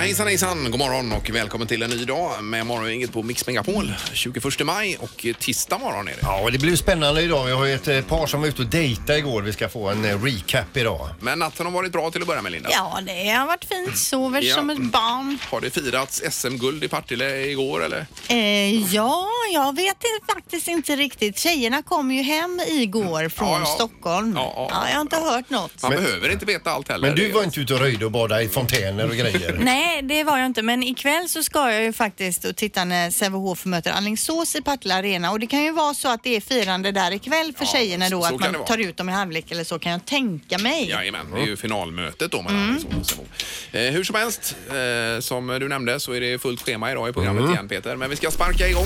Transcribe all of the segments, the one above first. Hejsan hejsan, god morgon och välkommen till en ny dag med morgongänget på Mix Megapol. 21 maj och tisdag morgon är det. Ja, och det blev spännande idag. Vi har ju ett eh, par som var ute och dejta igår. Vi ska få en eh, recap idag. Men natten har varit bra till att börja med Linda. Ja, det har varit fint. Sover Ja. som ett barn. Har det firats SM-guld i Partille igår eller? Eh, ja, jag vet inte- faktiskt inte riktigt. Tjejerna kom ju hem igår från Mm. Ja, ja. Stockholm. Ja, ja, jag har inte hört något. Man behöver inte veta allt heller. Men du Det- var inte ute och röjde och badade i fontäner och grejer. Nej, det var jag inte. Men ikväll så ska jag ju faktiskt och titta när Sävehof möter Alingsås i Partille Arena. Och det kan ju vara så att det är firande där ikväll för Ja, tjejerna så- då. så att kan det man vara. tar ut dem i halvlek eller så kan jag tänka mig. Jajamän, det är ju finalmötet då mellan Mm. Alingsås och Sävehof. eh, Hur som helst, eh, som du nämnde så är det fullt schema idag i programmet Mm. igen Peter. Men vi ska sparka igång.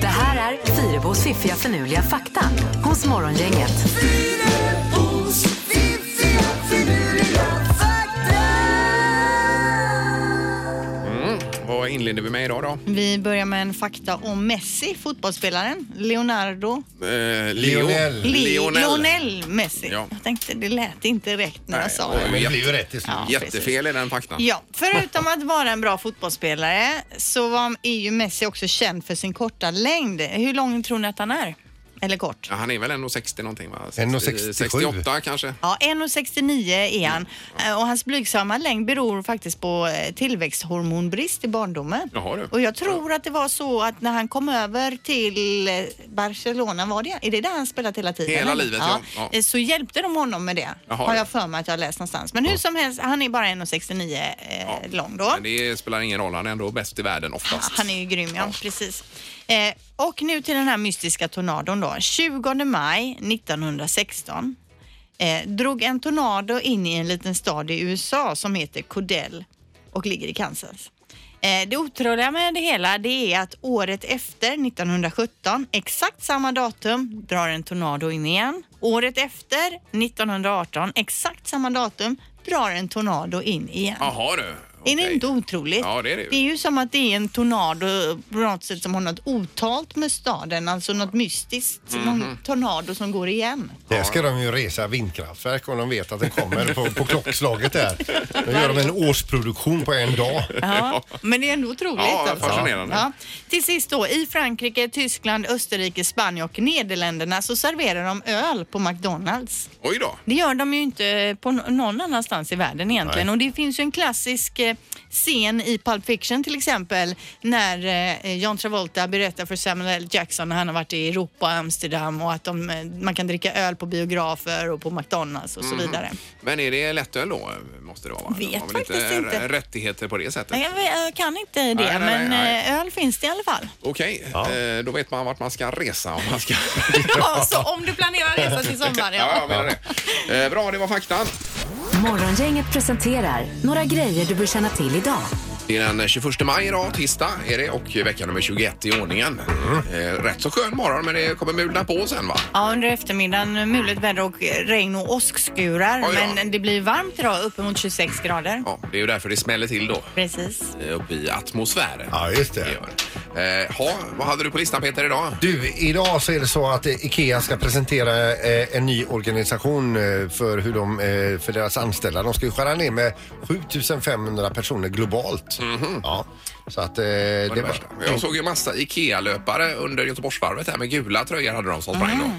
Det här är Fyrabos fiffiga förnuliga fakta hos Morgongänget. Vad inleder vi med idag då? Vi börjar med en fakta om Messi, fotbollsspelaren. Leonardo Eh, Lionel. Le- Lionel. Lionel Messi. Ja, Jag tänkte, det lät inte rätt när Nej, jag sa oj. det. Men det blev ju rätt i slut. Ja, precis. Jättefel i den faktan. Ja, förutom att vara en bra fotbollsspelare så var, är ju Messi också känd för sin korta längd. Hur lång tror ni att han är? Eller kort? Ja, han är väl 1,60 någonting va? 1,67. 68 kanske. Ja, 1,69 är han. Eh, Och hans blygsamma längd beror faktiskt på eh, tillväxthormonbrist i barndomen. Jaha, du. Och jag tror att det var så att när han kom över till eh, Barcelona, var det? Är det där han spelat hela tiden? Hela eller? livet, ja. Ja. Eh, Så hjälpte de honom med det, Jaha, har ja. jag för mig att jag läst någonstans. Men hur som helst, han är bara 1,69 eh, lång då. Men det spelar ingen roll, han är ändå bäst i världen oftast. Han är ju grym, ja. Precis. Eh, och nu till den här mystiska tornadon då. 20 maj 1916 eh, drog en tornado in i en liten stad i USA som heter Codell och ligger i Kansas. Eh, det otroliga med det hela det är att året efter, 1917, exakt samma datum, drar en tornado in igen. Året efter, 1918, exakt samma datum, drar en tornado in igen. Jaha du. Är det Okej. inte otroligt? Ja, det är det ju. ju. som att det är en tornado på något sätt som har något otalt med staden, alltså något mystiskt. Mhm. Någon tornado som går igen. Där ska de ju resa vindkraftverk om de vet att den kommer på, på klockslaget där. Då gör de en årsproduktion på en dag. Ja, men det är ändå otroligt. Ja, alltså. fascinerande. Ja. Till sist då, i Frankrike, Tyskland, Österrike, Spanien och Nederländerna så serverar de öl på McDonalds. Oj då. Det gör de ju inte på nå- någon annanstans i världen egentligen. Nej. Och det finns ju en klassisk eh, scen i Pulp Fiction till exempel när eh, John Travolta berättar för Samuel L. Jackson när han har varit i Europa och Amsterdam och att de, eh, man kan dricka öl på biografer och på McDonalds och Mm. så vidare. Men är det lättöl då? Måste det vara va? Vet De har väl faktiskt inte. inte. r- Rättigheter på det sättet. Nej, Jag, jag kan Nej, inte det, nej, nej, men nej. eh, öl finns det i alla fall. Okej, eh, då vet man vart man ska resa om man ska... Ja, så om du planerar att resa till sommaren, ja, ja. jag menar det. Eh, bra, det var faktan. Morgongänget presenterar några grejer du bör känna till idag. Det är den 21 maj idag, tisdag är det och vecka nummer 21 i ordningen. Eh, rätt så skön morgon men det kommer mulna på sen va? Ja, under eftermiddagen eh, mulet väder och regn och åskskurar. Oj då. Men det blir varmt idag, uppemot 26 grader. Ja, det är ju därför det smäller till då. Precis. eh, Uppe i atmosfären. Ja, just Det det. gör det. Eh, ha, vad hade du på listan Peter idag? Du, idag så är det så att eh, IKEA ska presentera eh, en ny organisation eh, för, hur de, eh, för deras anställda. De ska ju skära ner med 7500 personer globalt. Ja, så att eh, det, Mhm. Det var... värsta. Jag såg ju massa IKEA-löpare under Göteborgsvarvet här med gula tröjor hade de som sprang då.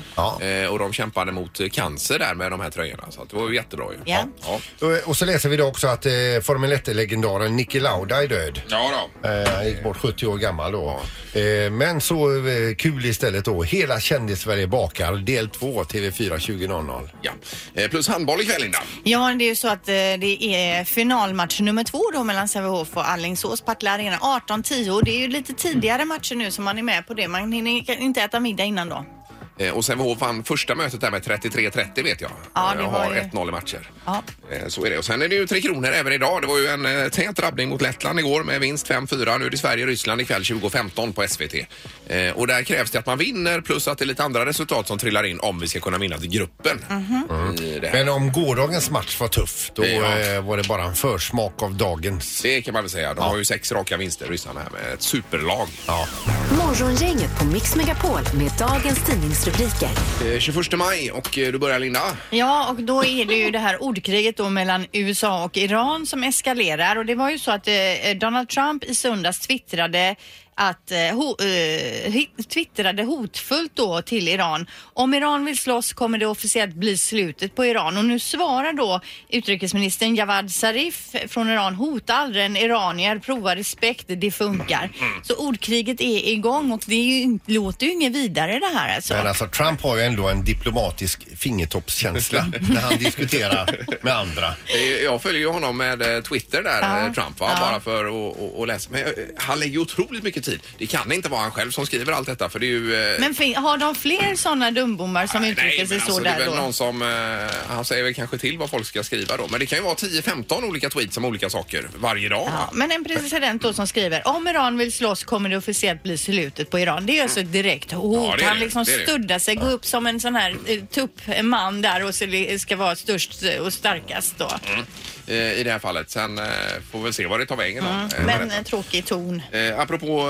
Ja. Eh, och de kämpade mot eh, cancer där med de här tröjorna så att det var ju jättebra ju. Ja. Ja, Och- Och så läser vi då också att eh, Formel 1-legendaren Niki Lauda är död. ja då. Eh, Han gick bort 70 år gammal då. Eh, Men så eh, kul istället då. Hela kändis-Sverige bakar del 2 TV4 20.00. Ja. Eh, plus handboll ikväll Linda. Ja, det är ju så att eh, det är finalmatch nummer två då mellan Sävehof och Alingsås Partille Arena 18-10 och det är ju lite tidigare matcher nu som man är med på det. Man hinner inte äta middag innan då. Eh, och Sävehof vann första mötet där med 33-30 vet jag. Ja, det Eh, och var har ju- 1-0 i matcher. Ja. Eh, Så är det. Och sen är det ju Tre Kronor även idag. Det var ju en eh, tät drabbning mot Lettland igår med vinst 5-4. Nu är det Sverige-Ryssland ikväll 20.15 på SVT. Eh, Och där krävs det att man vinner plus att det är lite andra resultat som trillar in om vi ska kunna vinna till gruppen. Mhm. I det, här. Men om gårdagens match var tuff, då Ja. eh, var det bara en försmak av dagens. det kan man väl säga. De har ju sex raka vinster, ryssarna, här med ett superlag. Ja. Morgongänget på Mix Megapol med dagens Tidningsrubriker. Eh, 21 maj och eh, du börjar Linda. Ja, och då är det ju det här ordkriget då mellan USA och Iran som eskalerar och det var ju så att eh, Donald Trump i söndags twittrade att eh, ho, eh, hit- twittrade hotfullt då till Iran. Om Iran vill slåss kommer det officiellt bli slutet på Iran och nu svarar då utrikesministern Javad Zarif från Iran hota aldrig en iranier, prova respekt, det funkar. Så ordkriget är igång och det är ju, låter ju inget vidare det här alltså. Men alltså Trump har ju ändå en diplomatisk fingertoppskänsla när han diskuterar med andra. Eh, Jag följer ju honom med eh, Twitter där, Ja. eh, Trump, va? Ja. bara för att- att att läsa. Men eh, han lägger ju otroligt mycket tid. Det kan inte vara han själv som skriver allt detta för det är ju... eh, Men fin- har de fler sådana dumbommar som nej, uttrycker sig men så alltså, Det där är väl då? någon som... eh, Han säger väl kanske till vad folk ska skriva då. Men det kan ju vara 10-15 olika tweets om olika saker varje dag. Ja, men en president då som skriver om Iran vill slåss kommer det officiellt bli slutet på Iran. Det är ju alltså ett direkt hot. Ja, det är Han det. liksom Det är det. studdar sig, går upp som en sån här eh, tupp en man där och så li- ska vara störst eh, och starkast då. eh, I det här fallet. Sen eh, får vi se vad det tar vägen. då, eh, med Mm. Men detta. en tråkig ton. Eh, apropå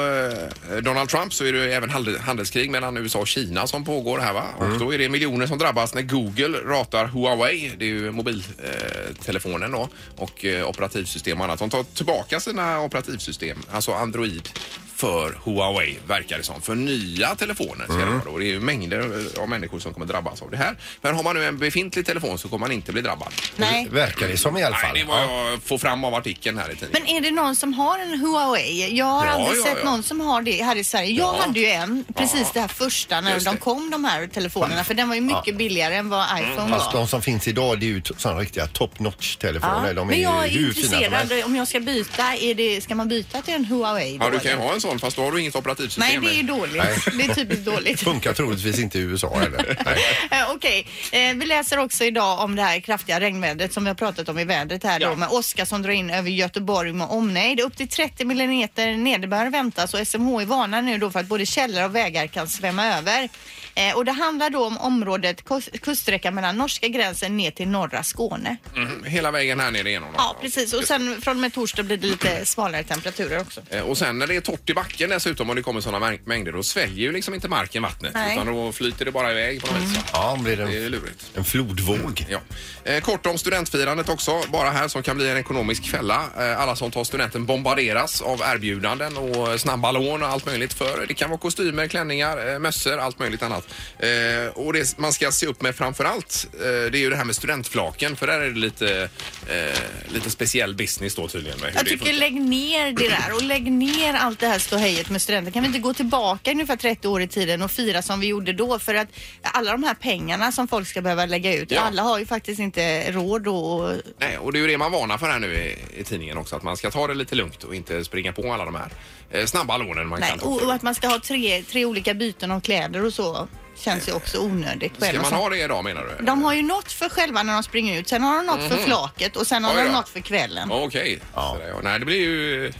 eh, Donald Trump så är det ju även handel- handelskrig mellan USA och Kina som pågår här va? Mm. Och då är det miljoner som drabbas när Google ratar Huawei, det är ju mobiltelefonen då, och eh, operativsystem och annat. De tar tillbaka sina operativsystem, alltså Android för Huawei verkar det som. För nya telefoner ska det Mm. vara då. Det är ju mängder av människor som kommer drabbas av det här. Men har man nu en befintlig telefon så kommer man inte bli drabbad. Nej. Verkar det som i alla Nej, fall. det var jag får fram av artikeln här i tidningen. Men är det någon som har en Huawei? Jag har Ja, aldrig ja, sett ja. någon som har det här i Sverige. Jag Ja. hade ju en, precis Ja. det här första när Just det. de Mm, kom de här telefonerna. För den var ju mycket billigare än vad iPhone var. Fast Alltså, de som finns idag det är ju t- sådana riktiga top notch telefoner. De är men jag ju är hur fina som helst. intresserad, om jag ska byta, är det, ska man byta till en Huawei? då, Ja, du kan ju eller? ha en sån fast då har du inget operativsystem. Nej, det är ju dåligt. Nej. Det är typiskt dåligt. Funkar troligtvis inte i USA heller. Nej. Eh, Okej, eh, vi läser också idag om det här kraftiga regnvädret som vi har pratat om i vädret här Ja. då med åska som drar in över Göteborg med omnejd. Upp till 30 millimeter nederbörd väntas och SMHI varnar nu då för att både källor och vägar kan svämma över. Eh, och det handlar då om området kus- kuststräckan mellan norska gränsen ner till norra Skåne. Mm, hela vägen här nere igenom. Ja, precis. Och sen från och med torsdag blir det lite svalare temperaturer också. Eh, Och sen när det är torrt i backen dessutom och det kommer sådana mäng- mängder då sväljer ju liksom inte marken vattnet Nej. utan då flyter det bara iväg på något vis. va? Ja, blir det Det är en, lurigt. en flodvåg. Ja. Eh, kort om studentfirandet också, bara här som kan bli en ekonomisk fälla. Eh, alla som tar studenten bombarderas av erbjudanden och eh, snabba lån och allt möjligt för. Det kan vara kostymer, klänningar, eh, mössor, allt möjligt annat. Eh, och det man ska se upp med framförallt eh, det är ju det här med studentflaken för där är det lite, eh, lite speciell business då tydligen. Med hur Jag det tycker funkar. lägg ner det där och lägg ner allt det här ståhejet med studenter. Kan vi inte gå tillbaka ungefär 30 år i tiden och fira som vi gjorde då? För att alla de här pengarna som folk ska behöva lägga ut, Ja. alla har ju faktiskt inte råd och... Nej, och det är ju det man varnar för här nu i, i tidningen också, att man ska ta det lite lugnt och inte springa på alla de här eh, snabba lånen man Nej, kan ta. och, och att man ska ha tre, tre olika byten av kläder och så känns ju också onödigt. på en Ska och man samma- ha det idag menar du? De har ju något för själva när de springer ut, sen har de något för flaket och sen har Mhm. Oj de då. något för kvällen. Ja, Okej, Ja. Sådär, ja. nej det blir ju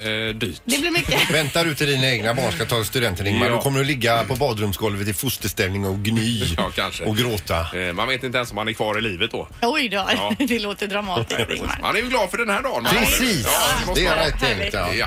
eh, dyrt. Det blir mycket. Väntar du till dina egna barn ska ta studenten Ingmar, Ja. då kommer du ligga på badrumsgolvet i fosterställning och gny Ja, kanske. och gråta. Eh, man vet inte ens om man är kvar i livet då. Oj då, Ja. det låter dramatiskt Ingmar. Man är ju glad för den här dagen. man har det. Precis! Ja, det måste Det man är ha. rätt tänkt. Ja. Ja.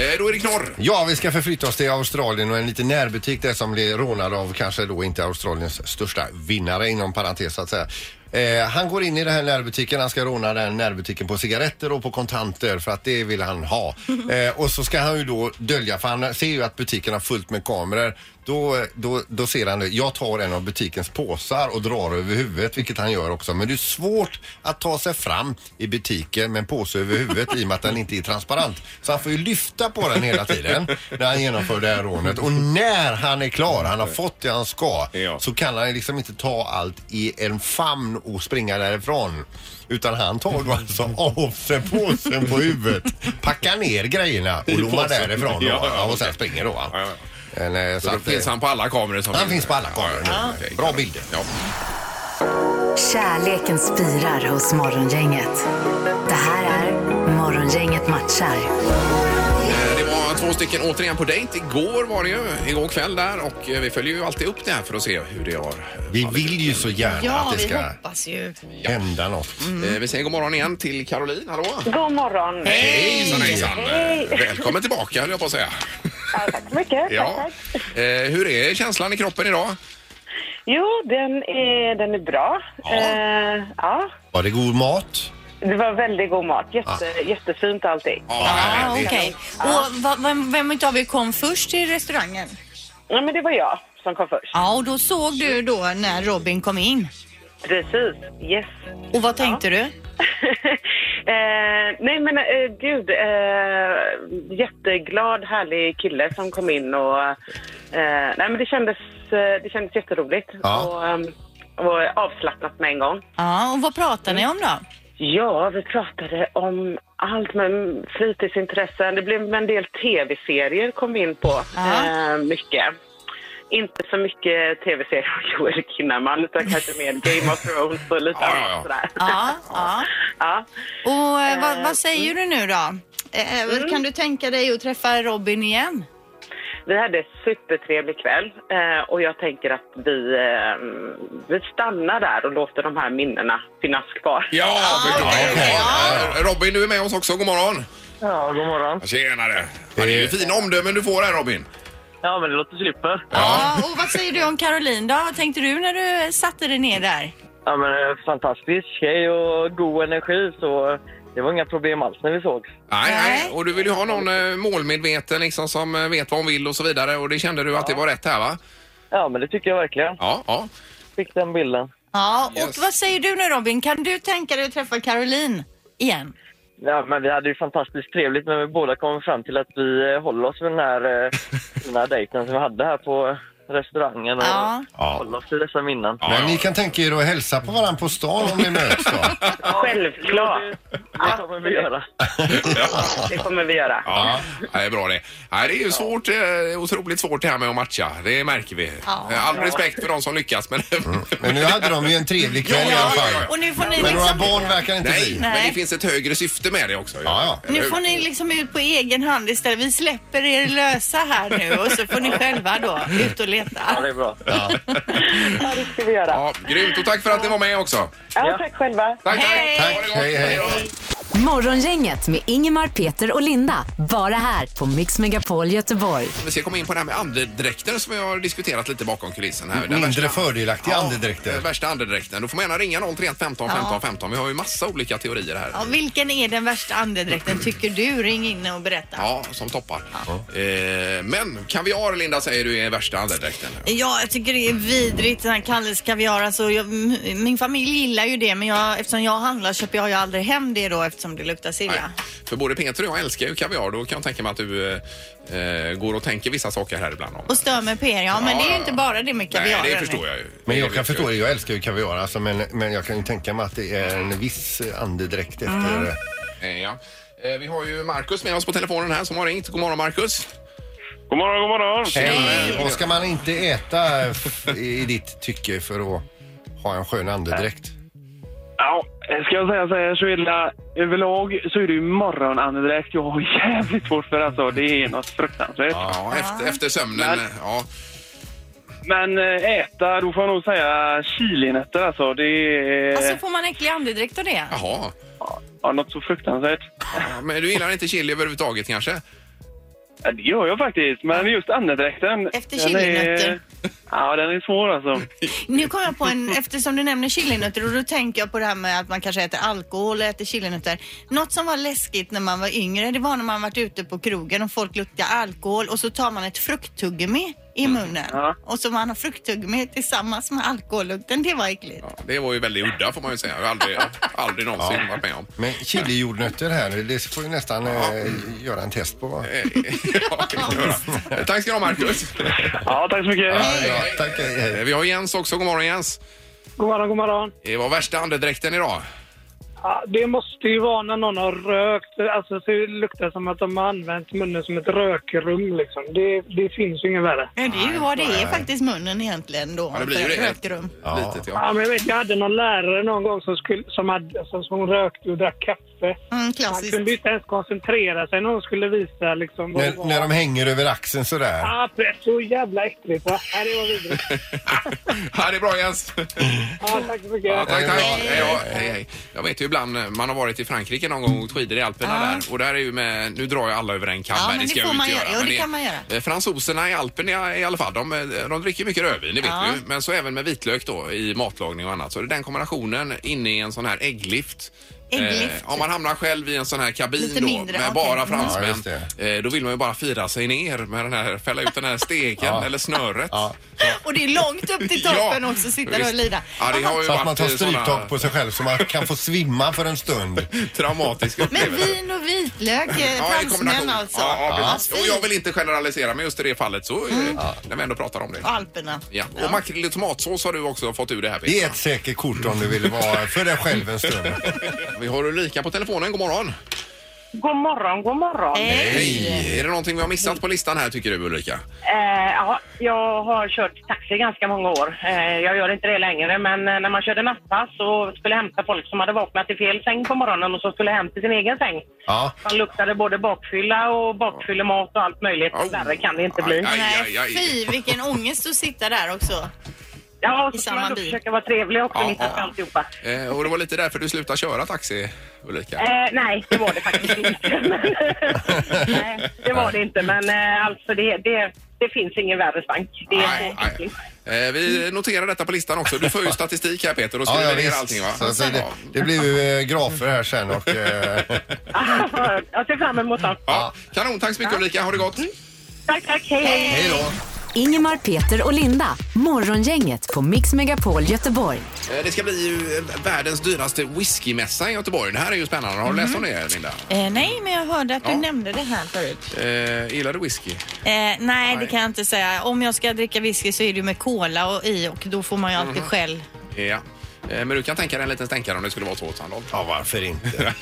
Eh, då är det knorr. Ja, vi ska förflytta oss till Australien och en liten närbutik där som blev rånad av kanske då inte Australiens största vinnare inom parentes så att säga. Eh, han går in i den här närbutiken, han ska råna den här närbutiken på cigaretter och på kontanter för att det vill han ha. Eh, och så ska han ju då dölja, för han ser ju att butiken har fullt med kameror. Då, då, då ser han det. Jag tar en av butikens påsar och drar över huvudet, vilket han gör också. Men det är svårt att ta sig fram i butiken med en påse över huvudet i och med att den inte är transparent. Så han får ju lyfta på den hela tiden när han genomför det här rånet. Och när han är klar, han har fått det han ska, Ja. så kan han liksom inte ta allt i en famn och springa därifrån. Utan han tar då alltså av sig påsen på huvudet, packar ner grejerna och lommar påsen. därifrån. Då, Ja, ja, ja, och sen okej. springer då. va? Ja, ja, Men, eh, så Så då att, finns han på alla kameror. Som Han finns på alla kameror nu. okej. Bra bilder. Ja. Kärleken spirar hos Morgongänget. Det här är Morgongänget matchar. Eh, Det var två stycken återigen på dejt. Igår var det ju, igår kväll där och eh, vi följer ju alltid upp det här för att se hur det har eh, Vi vill ju så gärna Ja, att det vi ska hoppas ju. hända något. Eh, Vi säger god morgon igen till Caroline. Hallå! God morgon. Hejsan hejsan! Eh, Välkommen tillbaka höll jag på att säga. Ja, tack så mycket. Ja. Tack, tack. Eh, hur är känslan i kroppen idag? Jo, den är, den är bra. Ja. Eh, ja. Var det god mat? Det var väldigt god mat. Jätte, Jättefint allting. Ja, Ah, härligt. okej. Och va- vem, vem utav er kom först till restaurangen? Ja, men det var jag som kom först. Ja, och då såg du då när Robin kom in. Precis. Yes. Och vad tänkte du? eh, nej, men eh, gud. Eh, jätteglad, härlig kille som kom in och... Eh, nej, men det kändes, eh, det kändes jätteroligt. Ja. Och, ehm, och avslappnat med en gång. Ja, och vad pratade ni om då? Ja, vi pratade om allt med fritidsintressen. Det blev en del tv-serier kom vi in på. Ja. Eh, mycket. Inte så mycket tv-serier om Joel Kinnaman utan kanske mer Game of Thrones och lite Ja, ja, annat ja. sådär. Ja, ja. Ja. Och eh, vad, vad säger du nu då? Eh, Kan du tänka dig att träffa Robin igen? Vi hade en supertrevlig kväll eh, och jag tänker att vi, eh, vi stannar där och låter de här minnena finnas kvar. Ja, förstås. okej. Ja, ja. Robin, du är med oss också. God morgon. Ja, god morgon. Tjenare. Ja, det är ju fina omdömen du får här, Robin. Ja, men det låter super. Ja. och vad säger du om Caroline då? Vad tänkte du när du satte dig ner där? Ja, men eh, fantastisk tjej och god energi, så eh, det var inga problem alls när vi sågs. Nej, nej. Nej. Och du vill ju ha någon eh, målmedveten liksom, som eh, vet vad hon vill och så vidare. Och det kände du att det var rätt här, va? Ja, men det tycker jag verkligen. Ja. ja. Fick den bilden. Ja, och Yes. vad säger du nu Robin? Kan du tänka dig att träffa Caroline igen? Ja, men vi hade ju fantastiskt trevligt, men vi båda kom fram till att vi eh, håller oss vid den här eh, fina dejten som vi hade här på restaurangen och Ja. håller oss till dessa minnen. Ja, Men ja. ni kan tänka er att hälsa på varandra på stan om ni möts då. Självklart, Det kommer vi göra. det kommer vi göra. Ja, det är bra det. Nej, det är ju svårt, eh, otroligt svårt det här med att matcha. Det märker vi. Ja. Eh, All respekt för de som lyckas, men... Men nu hade de ju en trevlig kväll i alla fall. Och nu får ni Men några liksom... barn verkar inte Nej, bli. men Nej. det finns ett högre syfte med det också. ju. Ja, ja. Eller Nu hur? får ni liksom ut på egen hand istället. Vi släpper er lösa här nu och så får ni själva då ut och Ja, det leta. är bra. Ja, det ska vi göra. Ja, grymt. Och tack för att ni var med också. Ja, tack själva. Tack, Hej. tack. Tack, Ha det gott. hej, hej. då. Morgongänget med Ingemar, Peter och Linda. Bara här på Mix Megapol Göteborg. Vi ska komma in på det här med andedräkter som vi har diskuterat lite bakom kulissen här. Den Mindre värsta- fördelaktiga Mm, andedräkter. den värsta andedräkten. Då får man gärna ringa 031 15 15 15. Vi har ju massa olika teorier här. Ja, vilken är den värsta andedräkten tycker du? Ring in och berätta. Ja, som toppar. Eh, men kaviar, Linda, säger du är värsta andedräkten. Ja, jag tycker det är vidrigt den här Kalles kaviar. Alltså, jag, m- min familj gillar ju det men jag, eftersom jag handlar köper jag ju aldrig hem det då eftersom det luktar Nej. silla. För både Peter och jag älskar ju kaviar. Då kan jag tänka mig att du eh, eh, går och tänker vissa saker här ibland. Om. Och stör mig på er. Ja, men Ja, det är ja, ju ja. inte bara det med kaviaren. Nej, det förstår jag ju. Men jag vet kan jag förstå ju. det. Jag älskar ju kaviar alltså, men, men jag kan ju tänka mig att det är en viss andedräkt Mm. efter det. Eh, ja. Eh, Vi har ju Markus med oss på telefonen här som har ringt. God morgon Markus! God morgon, god morgon. Hej. Och ska man inte äta f- i ditt tycke för att ha en skön andedräkt? Ja, ska jag säga så här så illa. Överlag så är det ju morgonandedräkt jag har jävligt svårt för alltså. Det är något fruktansvärt. Ja, efter, efter sömnen. Men- Ja. Men eh, äta, då får jag nog säga chilinötter alltså. Det är Alltså får man äcklig andedräkt av det? Jaha. ja, något så fruktansvärt. Ja, Men du gillar inte chili överhuvudtaget kanske? Ja, det gör jag faktiskt. Men just andedräkten. Efter den är- chilinötter. Ja, den är svår alltså. Nu kom jag på en, eftersom du nämner chilinötter och då tänker jag på det här med att man kanske äter alkohol och äter chilinötter. Något som var läskigt när man var yngre, det var när man varit ute på krogen och folk luktar alkohol och så tar man ett frukttuggummi i Mm. munnen. Ja. Och så man har frukttuggummi tillsammans med alkohollukten, det var äckligt. Ja, det var ju väldigt udda får man ju säga. Jag har aldrig, aldrig någonsin varit med om. Men chilijordnötter här nu, det får vi nästan eh, göra en test på. va? Eh, ja, det kan jag göra. Eh, Tack ska du ha Marcus! Ja, tack så mycket. Ja, tack, hej, hej. Eh, Vi har Jens också. God morgon Jens! God morgon, god morgon. Det var värsta andedräkten idag. Ja, det måste ju vara när någon har rökt. Alltså, så det luktar som att de har använt munnen som ett rökrum. Liksom. Det, det finns ju inget värre. Nej, det är ju vad det är faktiskt munnen egentligen då. Ja, det blir ju för det. ett rökrum. Ja. Litet, Ja, ja. men jag, vet, jag hade någon lärare någon gång som, skulle, som, hade, alltså, som hon rökte och drack kaffe. Mm, Han klassiskt. kunde ju inte ens koncentrera sig när hon skulle visa. Liksom, vad det När, var. när de hänger över axeln sådär. Ja, det är så jävla äckligt. Va? Ja, det var vidrigt. ja, det är bra Jens! Ja, tack så mycket. Ja, tack, tack. Hej. Hej, ja, hej, hej. Jag vet ju ibland eh, man har varit i Frankrike någon gång och åkt skidor i Alperna Ja. där. Och där är ju med, nu drar jag alla över en kam Ja, här, men det ska jag får ju man inte göra. Jo, Men det kan man göra. eh, Fransoserna i Alpen i, i alla fall, de, eh, de dricker mycket rödvin, det vet Ja. vi ju. Men så även med vitlök då i matlagning och annat. Så det är den kombinationen inne i en sån här ägglift. Ägglift. om man hamnar själv i en sån här kabin Lite då mindre, med okej. bara Mm. Ja, fransmän. just det. eh, då vill man ju bara fira sig ner med den här, fälla ut den här steken Ja. eller snöret. Ja. Och det är långt upp till toppen också, sitta där och visst. lida. Ja, det har ju Så att varit man tar såna stryptag på sig själv så man kan få svimma för en stund. traumatiska Men upplevelser. vin och vitlök, eh, Ja, i kombination. fransmän alltså. Ja, ja, precis. Ja, Mm. Och jag vill inte generalisera, men just i det fallet så eh, när vi ändå pratar om det. och Alperna. Ja. Och makrill i tomatsås har du också fått ur det här. Det Peter. är ett säkert kort om du vill vara för dig själv en stund. Vi har Ulrika på telefonen. God morgon. God morgon, god morgon. Hej! Är det någonting vi har missat på listan här tycker du Ulrika? Eh, ja, jag har kört taxi ganska många år. Eh, jag gör inte det längre, men eh, när man körde nattpass och skulle hämta folk som hade vaknat i fel säng på morgonen och som skulle hem till sin egen säng. Ja. Man luktade både bakfylla och bakfyllemat och allt möjligt. Au. Värre kan det inte bli. Aj, aj, Nej, aj. fy vilken ångest att sitta där också. Ja, och I så skulle samma man då bil. försöka vara trevlig också Ja, mitt ja, uppe i ja. alltihopa. Eh, och det var lite därför du slutade köra taxi Ulrika? Eh, nej, det var det faktiskt inte. eh, nej, det var det inte. Men eh, alltså det, det, det finns ingen värre stank. Det är Aj, så äckligt. aj. Eh, vi noterar detta på listan också. Du får ju statistik här Peter och Ja, skriver ja, ner visst. allting va? Så att det, Ja. det blir ju eh, grafer här sen och eh, Jag ser fram emot det. Ja. Kanon, tack så mycket Ulrika. Ha det gott. Mm. Tack, tack. Hej, hej. hej då. Ingemar, Peter och Linda. Morgongänget på Mix Megapol Göteborg. Eh, Det ska bli ju eh, världens dyraste whiskymässa i Göteborg. Det här är ju spännande. Har du läst om det, Linda? Eh, nej, men jag hörde att du Ja. nämnde det här förut. Eh, gillar du whisky? Eh, nej, det kan jag inte säga. Om jag ska dricka whisky så är det ju med cola och i och då får man ju Mhm. alltid skäll. Ja. Eh, men du kan tänka dig en liten stänkare om det skulle vara så, Sandholt. Ja, varför inte?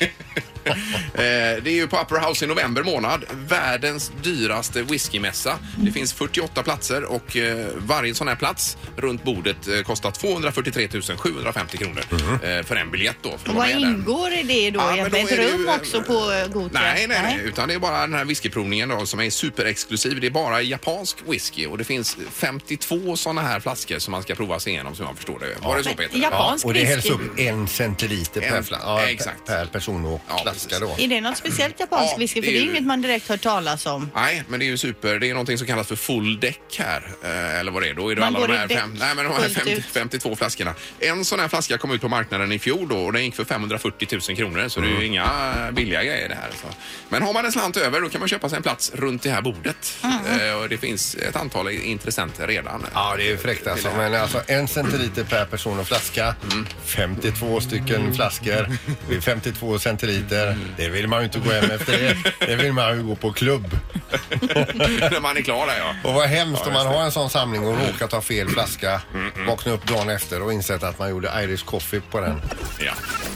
Eh, Det är ju på Upper House i november månad. Världens dyraste whiskymässa. Det Mm. finns 48 platser och eh, varje sån här plats runt bordet eh, kostar 243 750 kronor eh, för en biljett då. För att Och vara Mm. vad med där. ingår i det då? Ja, men egentligen? då är Ett det rum ju, eh, också på eh, Gothia? Nej, nej, nej, utan det är bara den här whiskyprovningen då, som är superexklusiv. Det är bara japansk whisky och det finns 52 sådana här flaskor som man ska prova sig igenom som jag förstår det. Var det så Peter? Ja, Japansk och det hälls whisky? upp en centiliter per, En- fla- ja, ja, exakt. per person och Ja, flaska precis. då. Är det något speciellt japansk Ja, whisky? det För det är är ju- inget man direkt hört talas om. Nej, men det är ju super. Det är någonting som kallas för full deck här. Eh, Eller vad det är. Då är det Man alla går de i här, däck fem, nej, men de här fullt 50, ut. 52 flaskorna. En sån här flaska kom ut på marknaden i fjol då och den gick för 540 000 kronor. Så Mm. det är ju inga billiga grejer det här. Så. Men har man en slant över då kan man köpa sig en plats runt det här bordet. Mm. Eh, Och det finns ett antal intressenter redan. Ja, det är ju fräckt alltså. Men alltså en centiliter per person och flaska. Mm. 52 stycken flaskor. Det är 52 centiliter. Mm. Det vill man ju inte gå hem efter det. Det vill man ju gå på klubb. När man är klar där ja. Mm. Och vad hemskt om man har en sån samling och råkar ta fel flaska. Vakna upp dagen efter och insett att man gjorde Irish coffee på den. ja.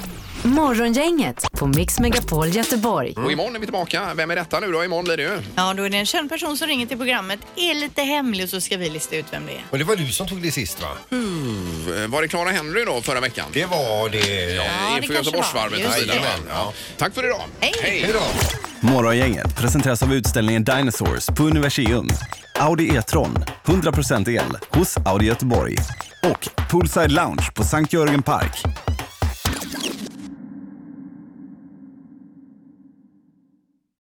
Mm. Morgongänget på Mix Megapol Göteborg. Och imorgon är vi tillbaka. Vem är detta nu då? Imorgon blir det ju. Ja, då är det en känd person som ringer till programmet, är lite hemlig och så ska vi lista ut vem det är. Och det var du som tog det sist va? Eh, Var det Clara Henry då förra veckan? Det var det. Ja. Eh, det Inför kanske Göteborgsvarvet. var. och Just så vidare, det. va? Ja. Tack för idag. Hej. Hej då. Morgongänget presenteras av utställningen Dinosaurs på Universium. Audi E-tron, 100% el, hos Audi Göteborg. Och Poolside Lounge på Sankt Jörgen Park.